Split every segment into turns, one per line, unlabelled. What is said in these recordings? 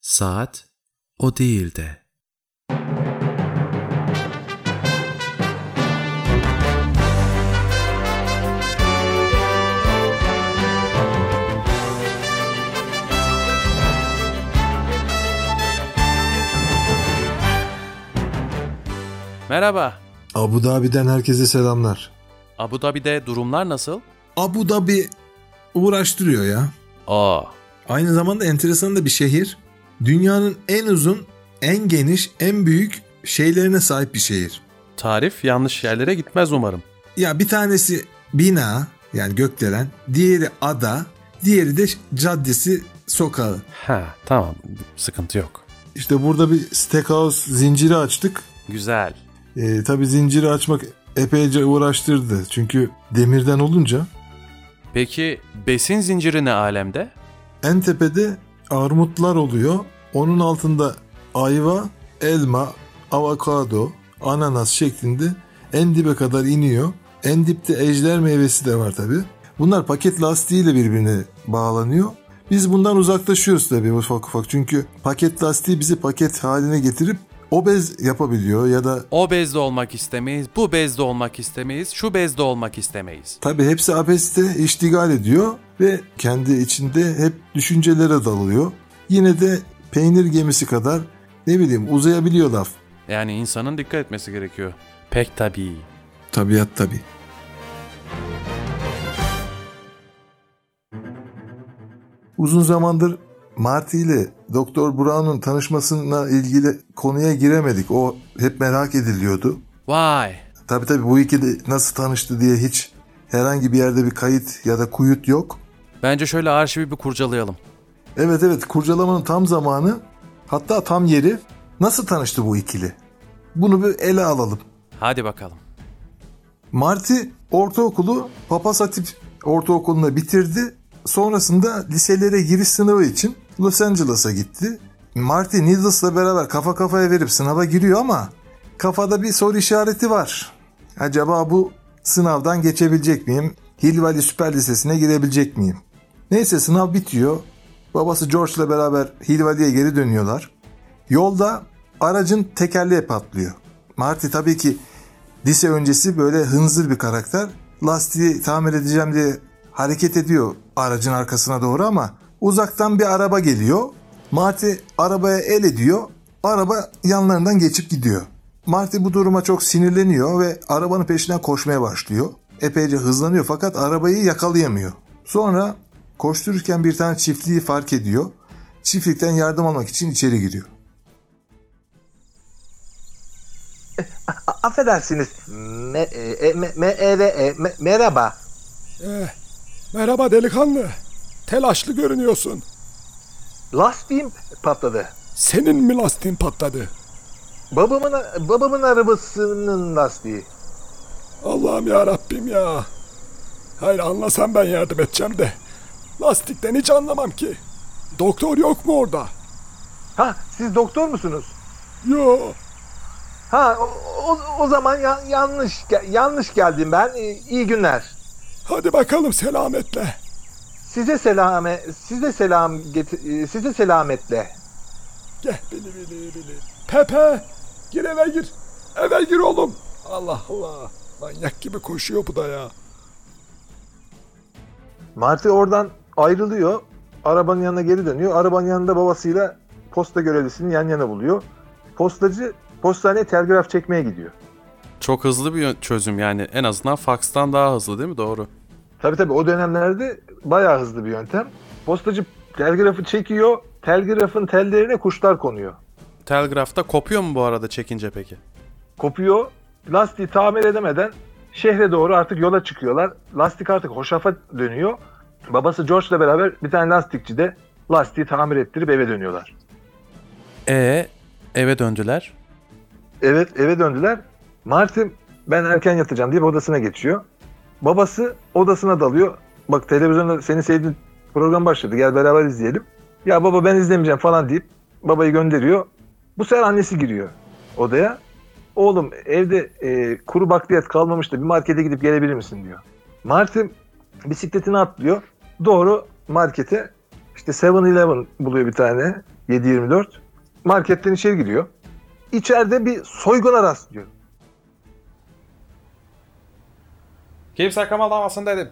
Saat o değildi.
Merhaba.
Abu Dhabi'den herkese selamlar.
Abu Dhabi'de durumlar nasıl?
Abu Dhabi uğraştırıyor ya.
Aa,
Aynı zamanda enteresan da bir şehir. Dünyanın en uzun, en geniş, en büyük şeylerine sahip bir şehir.
tarif yanlış yerlere gitmez umarım.
Ya bir tanesi bina yani gökdelen, diğeri ada, diğeri de caddesi sokağı.
Ha, tamam. Sıkıntı yok.
İşte burada bir steakhouse zinciri açtık.
Güzel.
Tabi tabii zinciri açmak epeyce uğraştırdı. Çünkü demirden olunca
Peki besin zinciri ne alemde?
En tepede armutlar oluyor. Onun altında ayva, elma, avokado, ananas şeklinde en dibe kadar iniyor. En dipte ejder meyvesi de var tabi. Bunlar paket lastiğiyle birbirine bağlanıyor. Biz bundan uzaklaşıyoruz tabi ufak ufak. Çünkü paket lastiği bizi paket haline getirip obez yapabiliyor ya da
O bezde olmak istemeyiz, bu bezde olmak istemeyiz, şu bezde olmak istemeyiz.
Tabi hepsi abeste iştigal ediyor ve kendi içinde hep düşüncelere dalıyor. Yine de peynir gemisi kadar ne bileyim uzayabiliyor laf.
Yani insanın dikkat etmesi gerekiyor. Pek tabii.
Tabiat tabi. Uzun zamandır Marty ile Doktor Brown'un tanışmasına ilgili konuya giremedik. O hep merak ediliyordu.
Vay.
Tabi tabi bu ikili nasıl tanıştı diye hiç herhangi bir yerde bir kayıt ya da kuyut yok.
Bence şöyle arşivi bir kurcalayalım.
Evet evet kurcalamanın tam zamanı hatta tam yeri nasıl tanıştı bu ikili? Bunu bir ele alalım.
Hadi bakalım.
Marty ortaokulu Papaz Hatip Ortaokulu'na bitirdi. Sonrasında liselere giriş sınavı için Los Angeles'a gitti. Marty Needles'la beraber kafa kafaya verip sınava giriyor ama kafada bir soru işareti var. Acaba bu sınavdan geçebilecek miyim? Hilvali Süper Lisesi'ne girebilecek miyim? Neyse sınav bitiyor. Babası George'la beraber Hilvali'ye geri dönüyorlar. Yolda aracın tekerleği patlıyor. Marty tabii ki Lise öncesi böyle hınzır bir karakter. Lastiği tamir edeceğim diye hareket ediyor aracın arkasına doğru ama uzaktan bir araba geliyor. Marty arabaya el ediyor. Araba yanlarından geçip gidiyor. Marty bu duruma çok sinirleniyor ve arabanın peşinden koşmaya başlıyor. Epeyce hızlanıyor fakat arabayı yakalayamıyor. Sonra koştururken bir tane çiftliği fark ediyor. Çiftlikten yardım almak için içeri giriyor.
A- Affedersiniz. Me, e, e, me, me, e, ve- e, me- merhaba.
Eh, merhaba delikanlı. Telaşlı görünüyorsun.
Lastiğim patladı.
Senin mi lastiğin patladı?
Babamın babamın arabasının lastiği.
Allah'ım ya Rabbim ya. Hayır anlasam ben yardım edeceğim de. Lastikten hiç anlamam ki. Doktor yok mu orada?
Ha siz doktor musunuz?
Yo.
Ha o, o- o zaman ya- yanlış ge- yanlış geldim ben. Ee, İyi günler.
Hadi bakalım selametle.
Size selame size selam geti- e, size selametle.
Gel bili bili bili. Pepe. Gir eve gir. Eve gir oğlum. Allah Allah. Manyak gibi koşuyor bu da ya.
Marty oradan ayrılıyor. Arabanın yanına geri dönüyor. Arabanın yanında babasıyla posta görevlisini yan yana buluyor. Postacı postaneye telgraf çekmeye gidiyor.
Çok hızlı bir yö- çözüm yani. En azından fakstan daha hızlı değil mi? Doğru.
Tabii tabii o dönemlerde bayağı hızlı bir yöntem. Postacı telgrafı çekiyor, telgrafın tellerine kuşlar konuyor.
Telgrafta kopuyor mu bu arada çekince peki?
Kopuyor, lastiği tamir edemeden şehre doğru artık yola çıkıyorlar. Lastik artık hoşafa dönüyor. Babası George'la beraber bir tane lastikçi de lastiği tamir ettirip eve dönüyorlar.
E eve döndüler.
Evet eve döndüler. Martin ben erken yatacağım diye odasına geçiyor. Babası odasına dalıyor. Bak televizyonda seni sevdiğin program başladı gel beraber izleyelim. Ya baba ben izlemeyeceğim falan deyip babayı gönderiyor. Bu sefer annesi giriyor odaya. Oğlum evde e, kuru bakliyat kalmamış da bir markete gidip gelebilir misin diyor. Martin bisikletini atlıyor. Doğru markete işte 7-Eleven buluyor bir tane. 7-24. Marketten içeri giriyor. İçeride bir soyguna rastlıyor.
Kimse kımıldamasın dedim.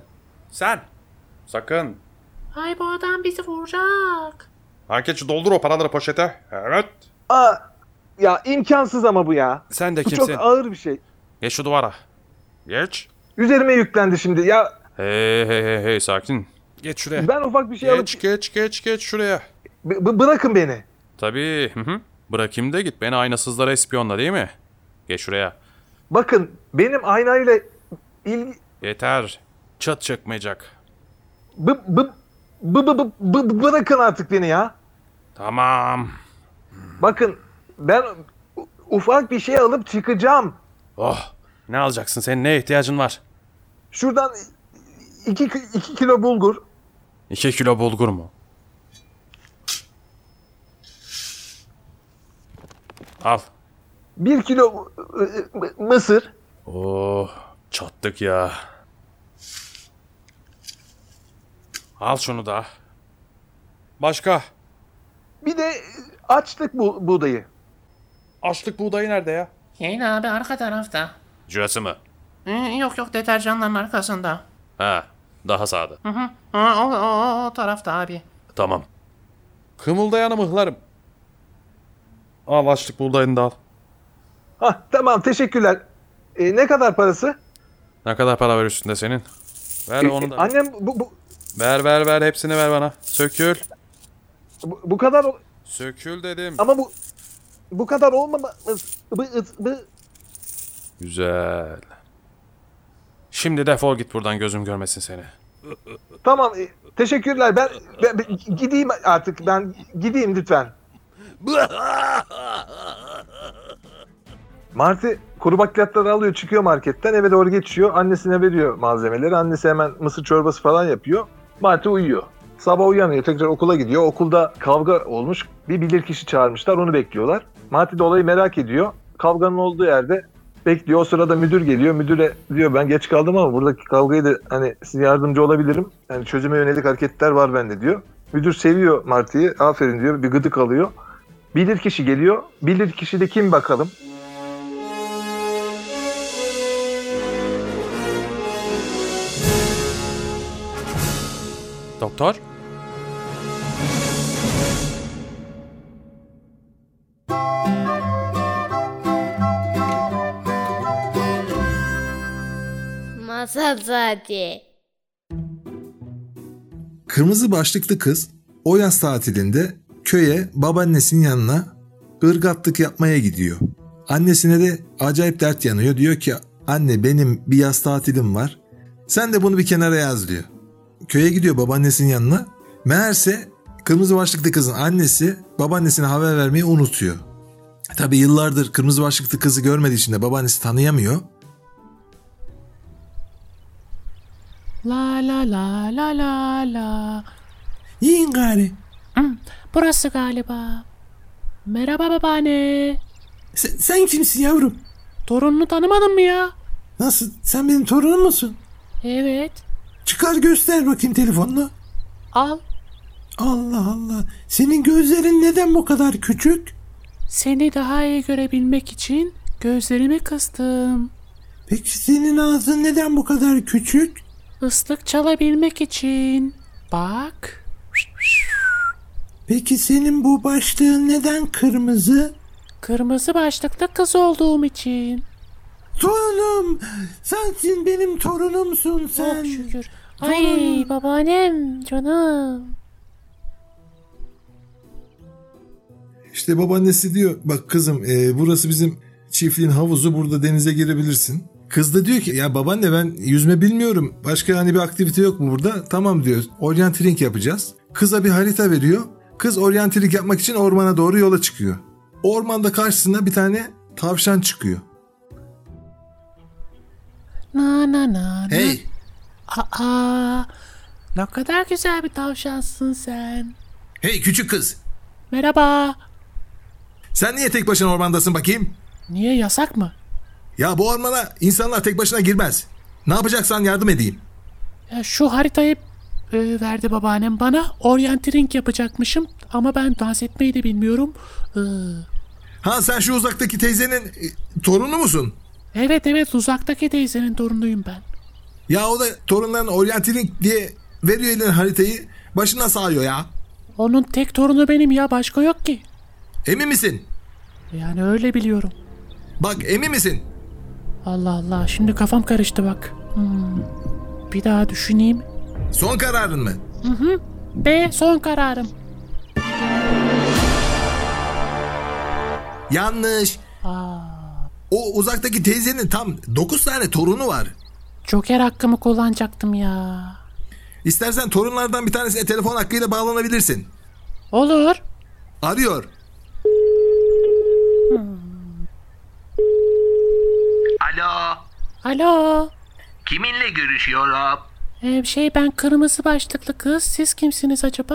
Sen. Sakın.
Ay bu adam bizi vuracak.
Anketçi doldur o paraları poşete. Evet.
Aa ya imkansız ama bu ya.
Sen de
Bu
kimsin?
çok ağır bir şey.
Geç şu duvara. Geç.
Üzerime yüklendi şimdi. Ya
Hey hey hey hey sakin. Geç şuraya.
ben ufak bir şey alıp
Geç geç geç geç şuraya.
B- b- bırakın beni.
Tabii. Hı hı. Bırakayım da git beni aynasızlara ispiyonla değil mi? Geç şuraya.
Bakın benim aynayla ilgi
Yeter. Çat çakmayacak.
b- b- b- b- b- b- bırakın artık beni ya.
Tamam.
Bakın ben u- ufak bir şey alıp çıkacağım.
Oh. Ne alacaksın? Senin neye ihtiyacın var?
Şuradan 2 2 kilo bulgur.
2 kilo bulgur mu? Al.
1 kilo ı- ı- ı- mısır.
Oh, çattık ya. Al şunu da. Başka?
Bir de açtık bu buğdayı.
Açlık buğdayı nerede ya?
Yayın abi arka tarafta.
Cürası mı?
Ee, yok yok deterjanların arkasında.
Ha, daha sağda.
Ha, o, o, o tarafta abi.
Tamam. Kımıldayanı mıhlarım. Al açlık buğdayını da al.
Hah tamam teşekkürler. E, ne kadar parası?
Ne kadar para var üstünde senin? Ver onu da.
Annem bu, bu,
Ver ver ver hepsini ver bana. Sökül.
bu, bu kadar ol-
Sökül dedim.
ama bu bu kadar olmamaz.
Güzel. Şimdi defol git buradan gözüm görmesin seni.
Tamam e, teşekkürler ben, ben- ben gideyim artık ben gideyim lütfen. Marti kuru bakliyatları alıyor çıkıyor marketten eve doğru geçiyor. Annesine veriyor malzemeleri. Annesi hemen mısır çorbası falan yapıyor. Marti uyuyor. Sabah uyanıyor tekrar okula gidiyor. Okulda kavga olmuş. Bir bilirkişi çağırmışlar onu bekliyorlar. Marti de olayı merak ediyor. Kavganın olduğu yerde bekliyor. O sırada müdür geliyor. Müdüre diyor ben geç kaldım ama buradaki kavgayı da hani size yardımcı olabilirim. Yani çözüme yönelik hareketler var bende diyor. Müdür seviyor Marti'yi. Aferin diyor. Bir gıdık alıyor. Bilir kişi geliyor. Bilir kişi de kim bakalım?
Doktor?
Masal saati.
Kırmızı başlıklı kız o yaz tatilinde köye babaannesinin yanına ırgatlık yapmaya gidiyor. Annesine de acayip dert yanıyor. Diyor ki anne benim bir yaz tatilim var. Sen de bunu bir kenara yaz diyor. Köye gidiyor babaannesinin yanına. Meğerse kırmızı başlıklı kızın annesi babaannesine haber vermeyi unutuyor. Tabi yıllardır kırmızı başlıklı kızı görmediği için de babaannesi tanıyamıyor.
La la la la la la.
Yiyin gari.
Burası galiba. Merhaba babaanne.
Sen, sen kimsin yavrum?
Torununu tanımadın mı ya?
Nasıl? Sen benim torunum musun?
Evet.
Çıkar göster bakayım telefonunu.
Al.
Allah Allah. Senin gözlerin neden bu kadar küçük?
Seni daha iyi görebilmek için gözlerimi kıstım.
Peki senin ağzın neden bu kadar küçük?
Islık çalabilmek için. Bak.
Peki senin bu başlığın neden kırmızı?
Kırmızı başlıklı kız olduğum için.
Torunum! Sensin benim torunumsun sen.
Çok Oh, şükür. Ay babaannem canım.
İşte babaannesi diyor bak kızım e, burası bizim çiftliğin havuzu burada denize girebilirsin. Kız da diyor ki ya babaanne ben yüzme bilmiyorum. Başka hani bir aktivite yok mu burada? Tamam diyor. Orienteering yapacağız. Kıza bir harita veriyor. Kız orienteering yapmak için ormana doğru yola çıkıyor. Ormanda karşısına bir tane tavşan çıkıyor.
Na na na. na.
Hey!
Aa. Ne kadar güzel bir tavşansın sen.
Hey küçük kız!
Merhaba.
Sen niye tek başına ormandasın bakayım?
Niye yasak mı?
Ya bu ormana insanlar tek başına girmez. Ne yapacaksan yardım edeyim.
Ya şu haritayı e, verdi babaannem bana. Orientering yapacakmışım ama ben dans etmeyi de bilmiyorum. Ee,
Ha sen şu uzaktaki teyzenin e, torunu musun?
evet evet uzaktaki teyzenin torunuyum ben.
Ya o da torunlarına oryantiling diye veriyor eline haritayı. Başına sağıyor ya.
Onun tek torunu benim ya başka yok ki.
Emin misin?
Yani öyle biliyorum.
Bak emin misin?
Allah Allah şimdi kafam karıştı bak. Hmm, Bir daha düşüneyim.
Son kararın mı?
B son kararım.
Yanlış. O uzaktaki teyzenin tam 9 tane torunu var.
Joker hakkımı kullanacaktım ya.
İstersen torunlardan bir tanesine telefon hakkıyla bağlanabilirsin.
Olur.
Arıyor.
Alo,
Alo.
kiminle görüşüyorum?
Ee, şey ben kırmızı başlıklı kız. Siz kimsiniz acaba?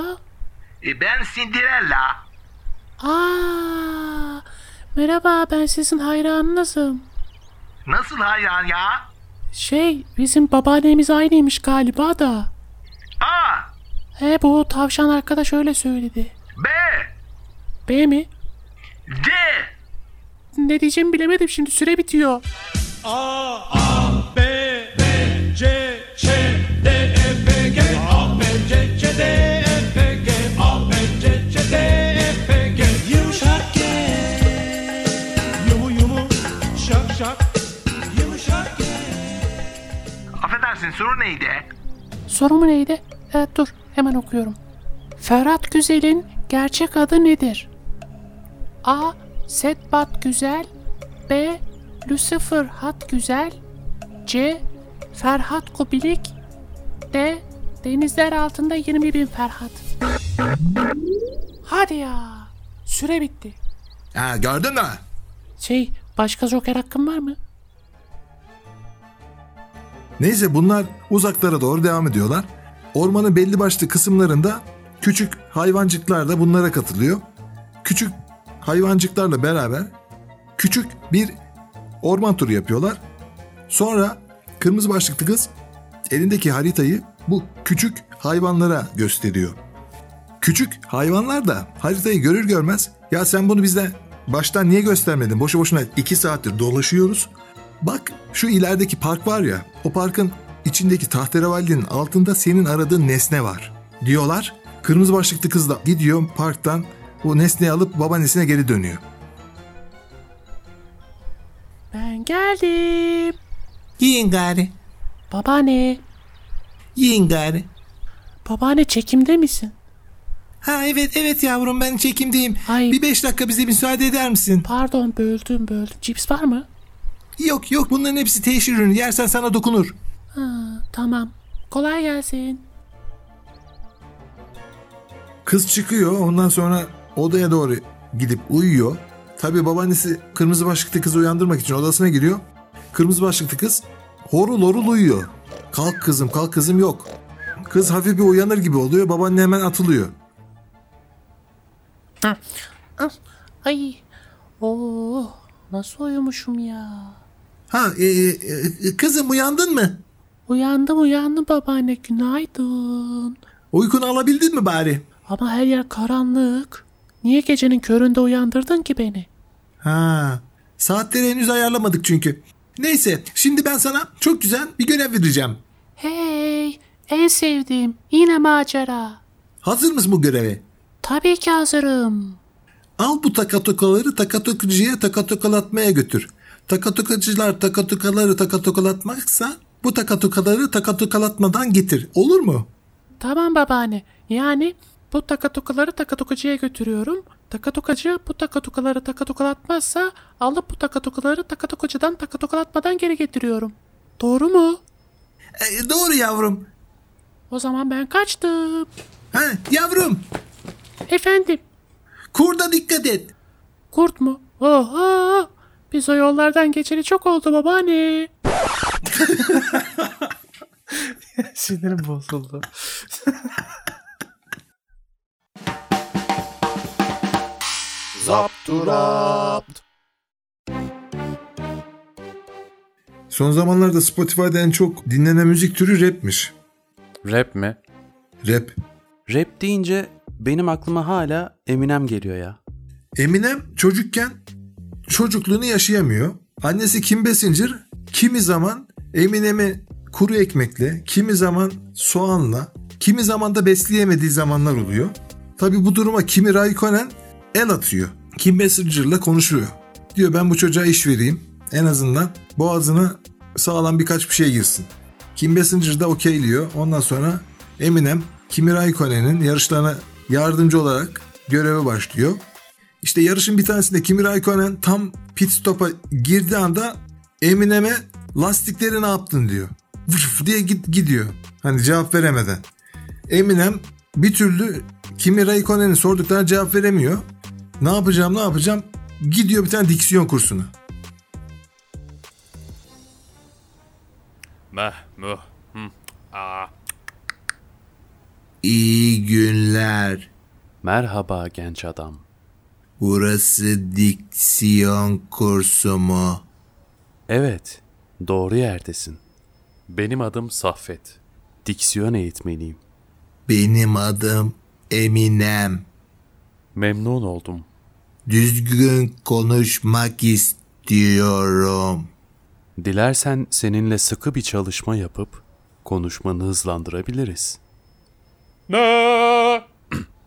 E, ben Cinderella.
Aa, merhaba ben sizin hayranınızım.
Nasıl hayran ya?
Şey bizim babaannemiz aynıymış galiba da.
A,
He bu tavşan arkadaş öyle söyledi.
B,
B mi?
D.
Ne diyeceğimi bilemedim şimdi süre bitiyor.
Affedersin soru neydi?
Sorumu neydi? Evet dur hemen okuyorum. Ferhat Güzel'in gerçek adı nedir? A. Setbat Güzel B. Lucifer Hat Güzel C. Ferhat Kubilik D. Denizler altında 20 bin Ferhat Hadi ya süre bitti.
Ha, gördün mü?
Şey başka joker hakkım var mı?
Neyse bunlar uzaklara doğru devam ediyorlar. Ormanın belli başlı kısımlarında küçük hayvancıklar da bunlara katılıyor. Küçük hayvancıklarla beraber küçük bir orman turu yapıyorlar. Sonra kırmızı başlıklı kız elindeki haritayı bu küçük hayvanlara gösteriyor. Küçük hayvanlar da haritayı görür görmez ya sen bunu bize baştan niye göstermedin boşu boşuna iki saattir dolaşıyoruz. Bak şu ilerideki park var ya o parkın içindeki tahterevallinin altında senin aradığın nesne var diyorlar. Kırmızı başlıklı kız da gidiyor parktan o nesneyi alıp babaannesine geri dönüyor.
Ben geldim.
Yiyin gari.
Babaanne.
Yiyin gari.
Babaanne çekimde misin?
Ha evet evet yavrum ben çekimdeyim.
Ay.
Bir beş dakika bize müsaade eder misin?
Pardon böldüm böldüm. Cips var mı?
Yok yok bunların hepsi teşhir ürünü. Yersen sana dokunur.
Tamam. Kolay gelsin.
Kız çıkıyor ondan sonra odaya doğru gidip uyuyor. Tabii babaannesi kırmızı başlıklı kızı uyandırmak için odasına giriyor. Kırmızı başlıklı kız horul horul uyuyor. Kalk kızım kalk kızım yok. Kız hafif bir uyanır gibi oluyor babaanne hemen atılıyor.
Ay. Oo. Nasıl uyumuşum ya?
Ha e, e, e, kızım uyandın mı?
Uyandım uyandım babaanne günaydın.
Uykunu alabildin mi bari?
Ama her yer karanlık. Niye gecenin köründe uyandırdın ki beni?
Ha saatleri henüz ayarlamadık çünkü. Neyse şimdi ben sana çok güzel bir görev vereceğim.
Hey, en sevdiğim yine macera.
Hazır mısın bu göreve?
Tabii ki hazırım.
Al bu takatokaları takatokucuya takatokalatmaya götür. Takatokacılar takatokaları takatokalatmaksa bu takatokaları takatokalatmadan getir. Olur mu?
Tamam babaanne. Yani bu takatukaları takatukucuya götürüyorum. Takatukacı bu takatukaları takatukalatmazsa alıp bu takatukaları takatukucudan takatukalatmadan geri getiriyorum. Doğru mu?
E, doğru yavrum.
O zaman ben kaçtım.
Ha, yavrum
Efendim,
kurda dikkat et.
kurt mu? Oha! Biz o yollardan geçeli çok oldu babaanne.
Sinirim bozuldu.
Son zamanlarda Spotify'da en çok dinlenen müzik türü rapmiş.
Rap mi?
Rap.
Rap deyince benim aklıma hala Eminem geliyor ya.
Eminem çocukken çocukluğunu yaşayamıyor. Annesi Kim Basinger kimi zaman Eminem'i kuru ekmekle, kimi zaman soğanla, kimi zaman da besleyemediği zamanlar oluyor. Tabi bu duruma Kimi Raikkonen el atıyor. Kim Basinger'la konuşuyor. Diyor ben bu çocuğa iş vereyim. En azından boğazına sağlam birkaç bir şey girsin. Kim Basinger de okeyliyor. Ondan sonra Eminem Kimi Raikkonen'in yarışlarına yardımcı olarak göreve başlıyor. İşte yarışın bir tanesinde Kimi Raikkonen tam pit stop'a girdiği anda Eminem'e lastikleri ne yaptın diyor. Vıf diye git gidiyor. Hani cevap veremeden. Eminem bir türlü Kimi Raikkonen'in sorduklarına cevap veremiyor. Ne yapacağım ne yapacağım gidiyor bir tane diksiyon kursuna.
Meh, müh, hı, aa.
İyi günler.
Merhaba genç adam.
Burası diksiyon kursu mu?
Evet, doğru yerdesin. Benim adım Saffet. Diksiyon eğitmeniyim.
Benim adım Eminem.
Memnun oldum.
Düzgün konuşmak istiyorum.
Dilersen seninle sıkı bir çalışma yapıp konuşmanı hızlandırabiliriz.
Na,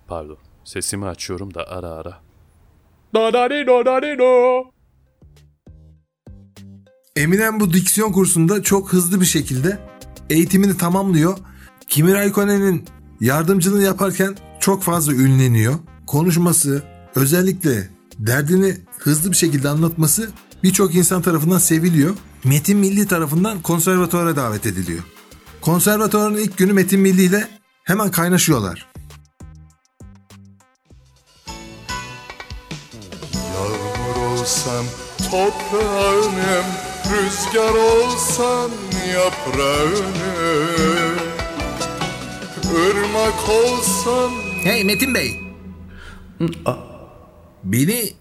Pardon, sesimi açıyorum da ara ara.
da da di do da di do.
Eminem bu diksiyon kursunda çok hızlı bir şekilde eğitimini tamamlıyor. Kimi Raikkonen'in yardımcılığını yaparken çok fazla ünleniyor. Konuşması, özellikle derdini hızlı bir şekilde anlatması birçok insan tarafından seviliyor. Metin Milli tarafından konservatuvara davet ediliyor. Konservatuvarın ilk günü Metin Milli ile hemen kaynaşıyorlar.
Yağmur olsam toprağınım Rüzgar olsam yaprağınım Irmak olsam
Hey Metin Bey. Beni,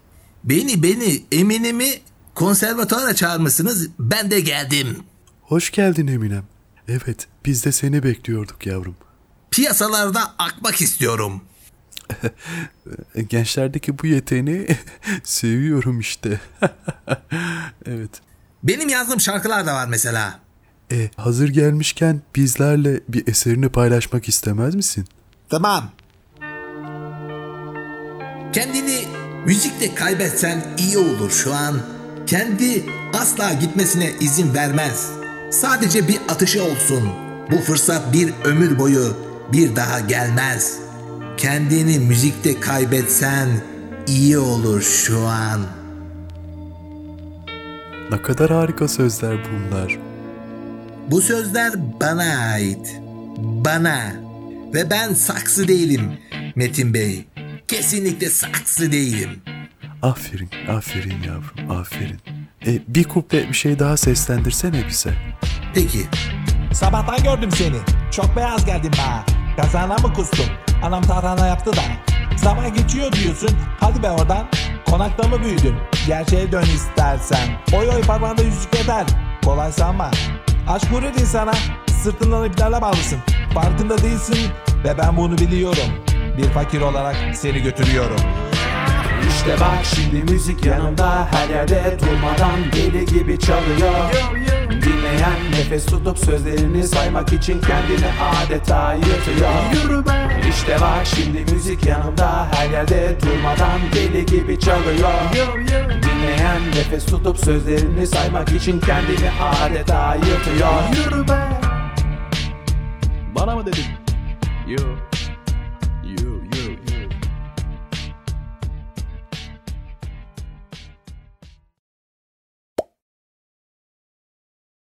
beni, beni Eminem'i konservatuara çağırmışsınız. Ben de geldim.
Hoş geldin Eminem. Evet, biz de seni bekliyorduk yavrum.
Piyasalarda akmak istiyorum.
Gençlerdeki bu yeteneği seviyorum işte. evet.
Benim yazdığım şarkılar da var mesela.
E, hazır gelmişken bizlerle bir eserini paylaşmak istemez misin?
Tamam. Kendini müzikle kaybetsen iyi olur şu an. Kendi asla gitmesine izin vermez. Sadece bir atışı olsun. Bu fırsat bir ömür boyu bir daha gelmez. Kendini müzikte kaybetsen iyi olur şu an.
Ne kadar harika sözler bunlar.
Bu sözler bana ait. Bana. Ve ben saksı değilim Metin Bey. Kesinlikle saksı değilim.
Aferin, aferin yavrum, aferin. E, bir kuple bir şey daha seslendirsene bize.
Peki.
Sabahtan gördüm seni. Çok beyaz geldin bana. Kazana mı kustun? Anam tarhana yaptı da. Zaman geçiyor diyorsun. Hadi be oradan. Konakta mı büyüdün? Gerçeğe dön istersen. Oy oy parmağında yüzük eder. Kolay sanma. Aşk vurur insana. Sırtından iplerle bağlısın. Farkında değilsin ve ben bunu biliyorum. Bir fakir olarak seni götürüyorum.
İşte bak şimdi müzik yanımda her yerde durmadan deli gibi çalıyor Dinleyen nefes tutup sözlerini saymak için kendini adeta yırtıyor İşte bak şimdi müzik yanımda her yerde durmadan deli gibi çalıyor Dinleyen nefes tutup sözlerini saymak için kendini adeta yırtıyor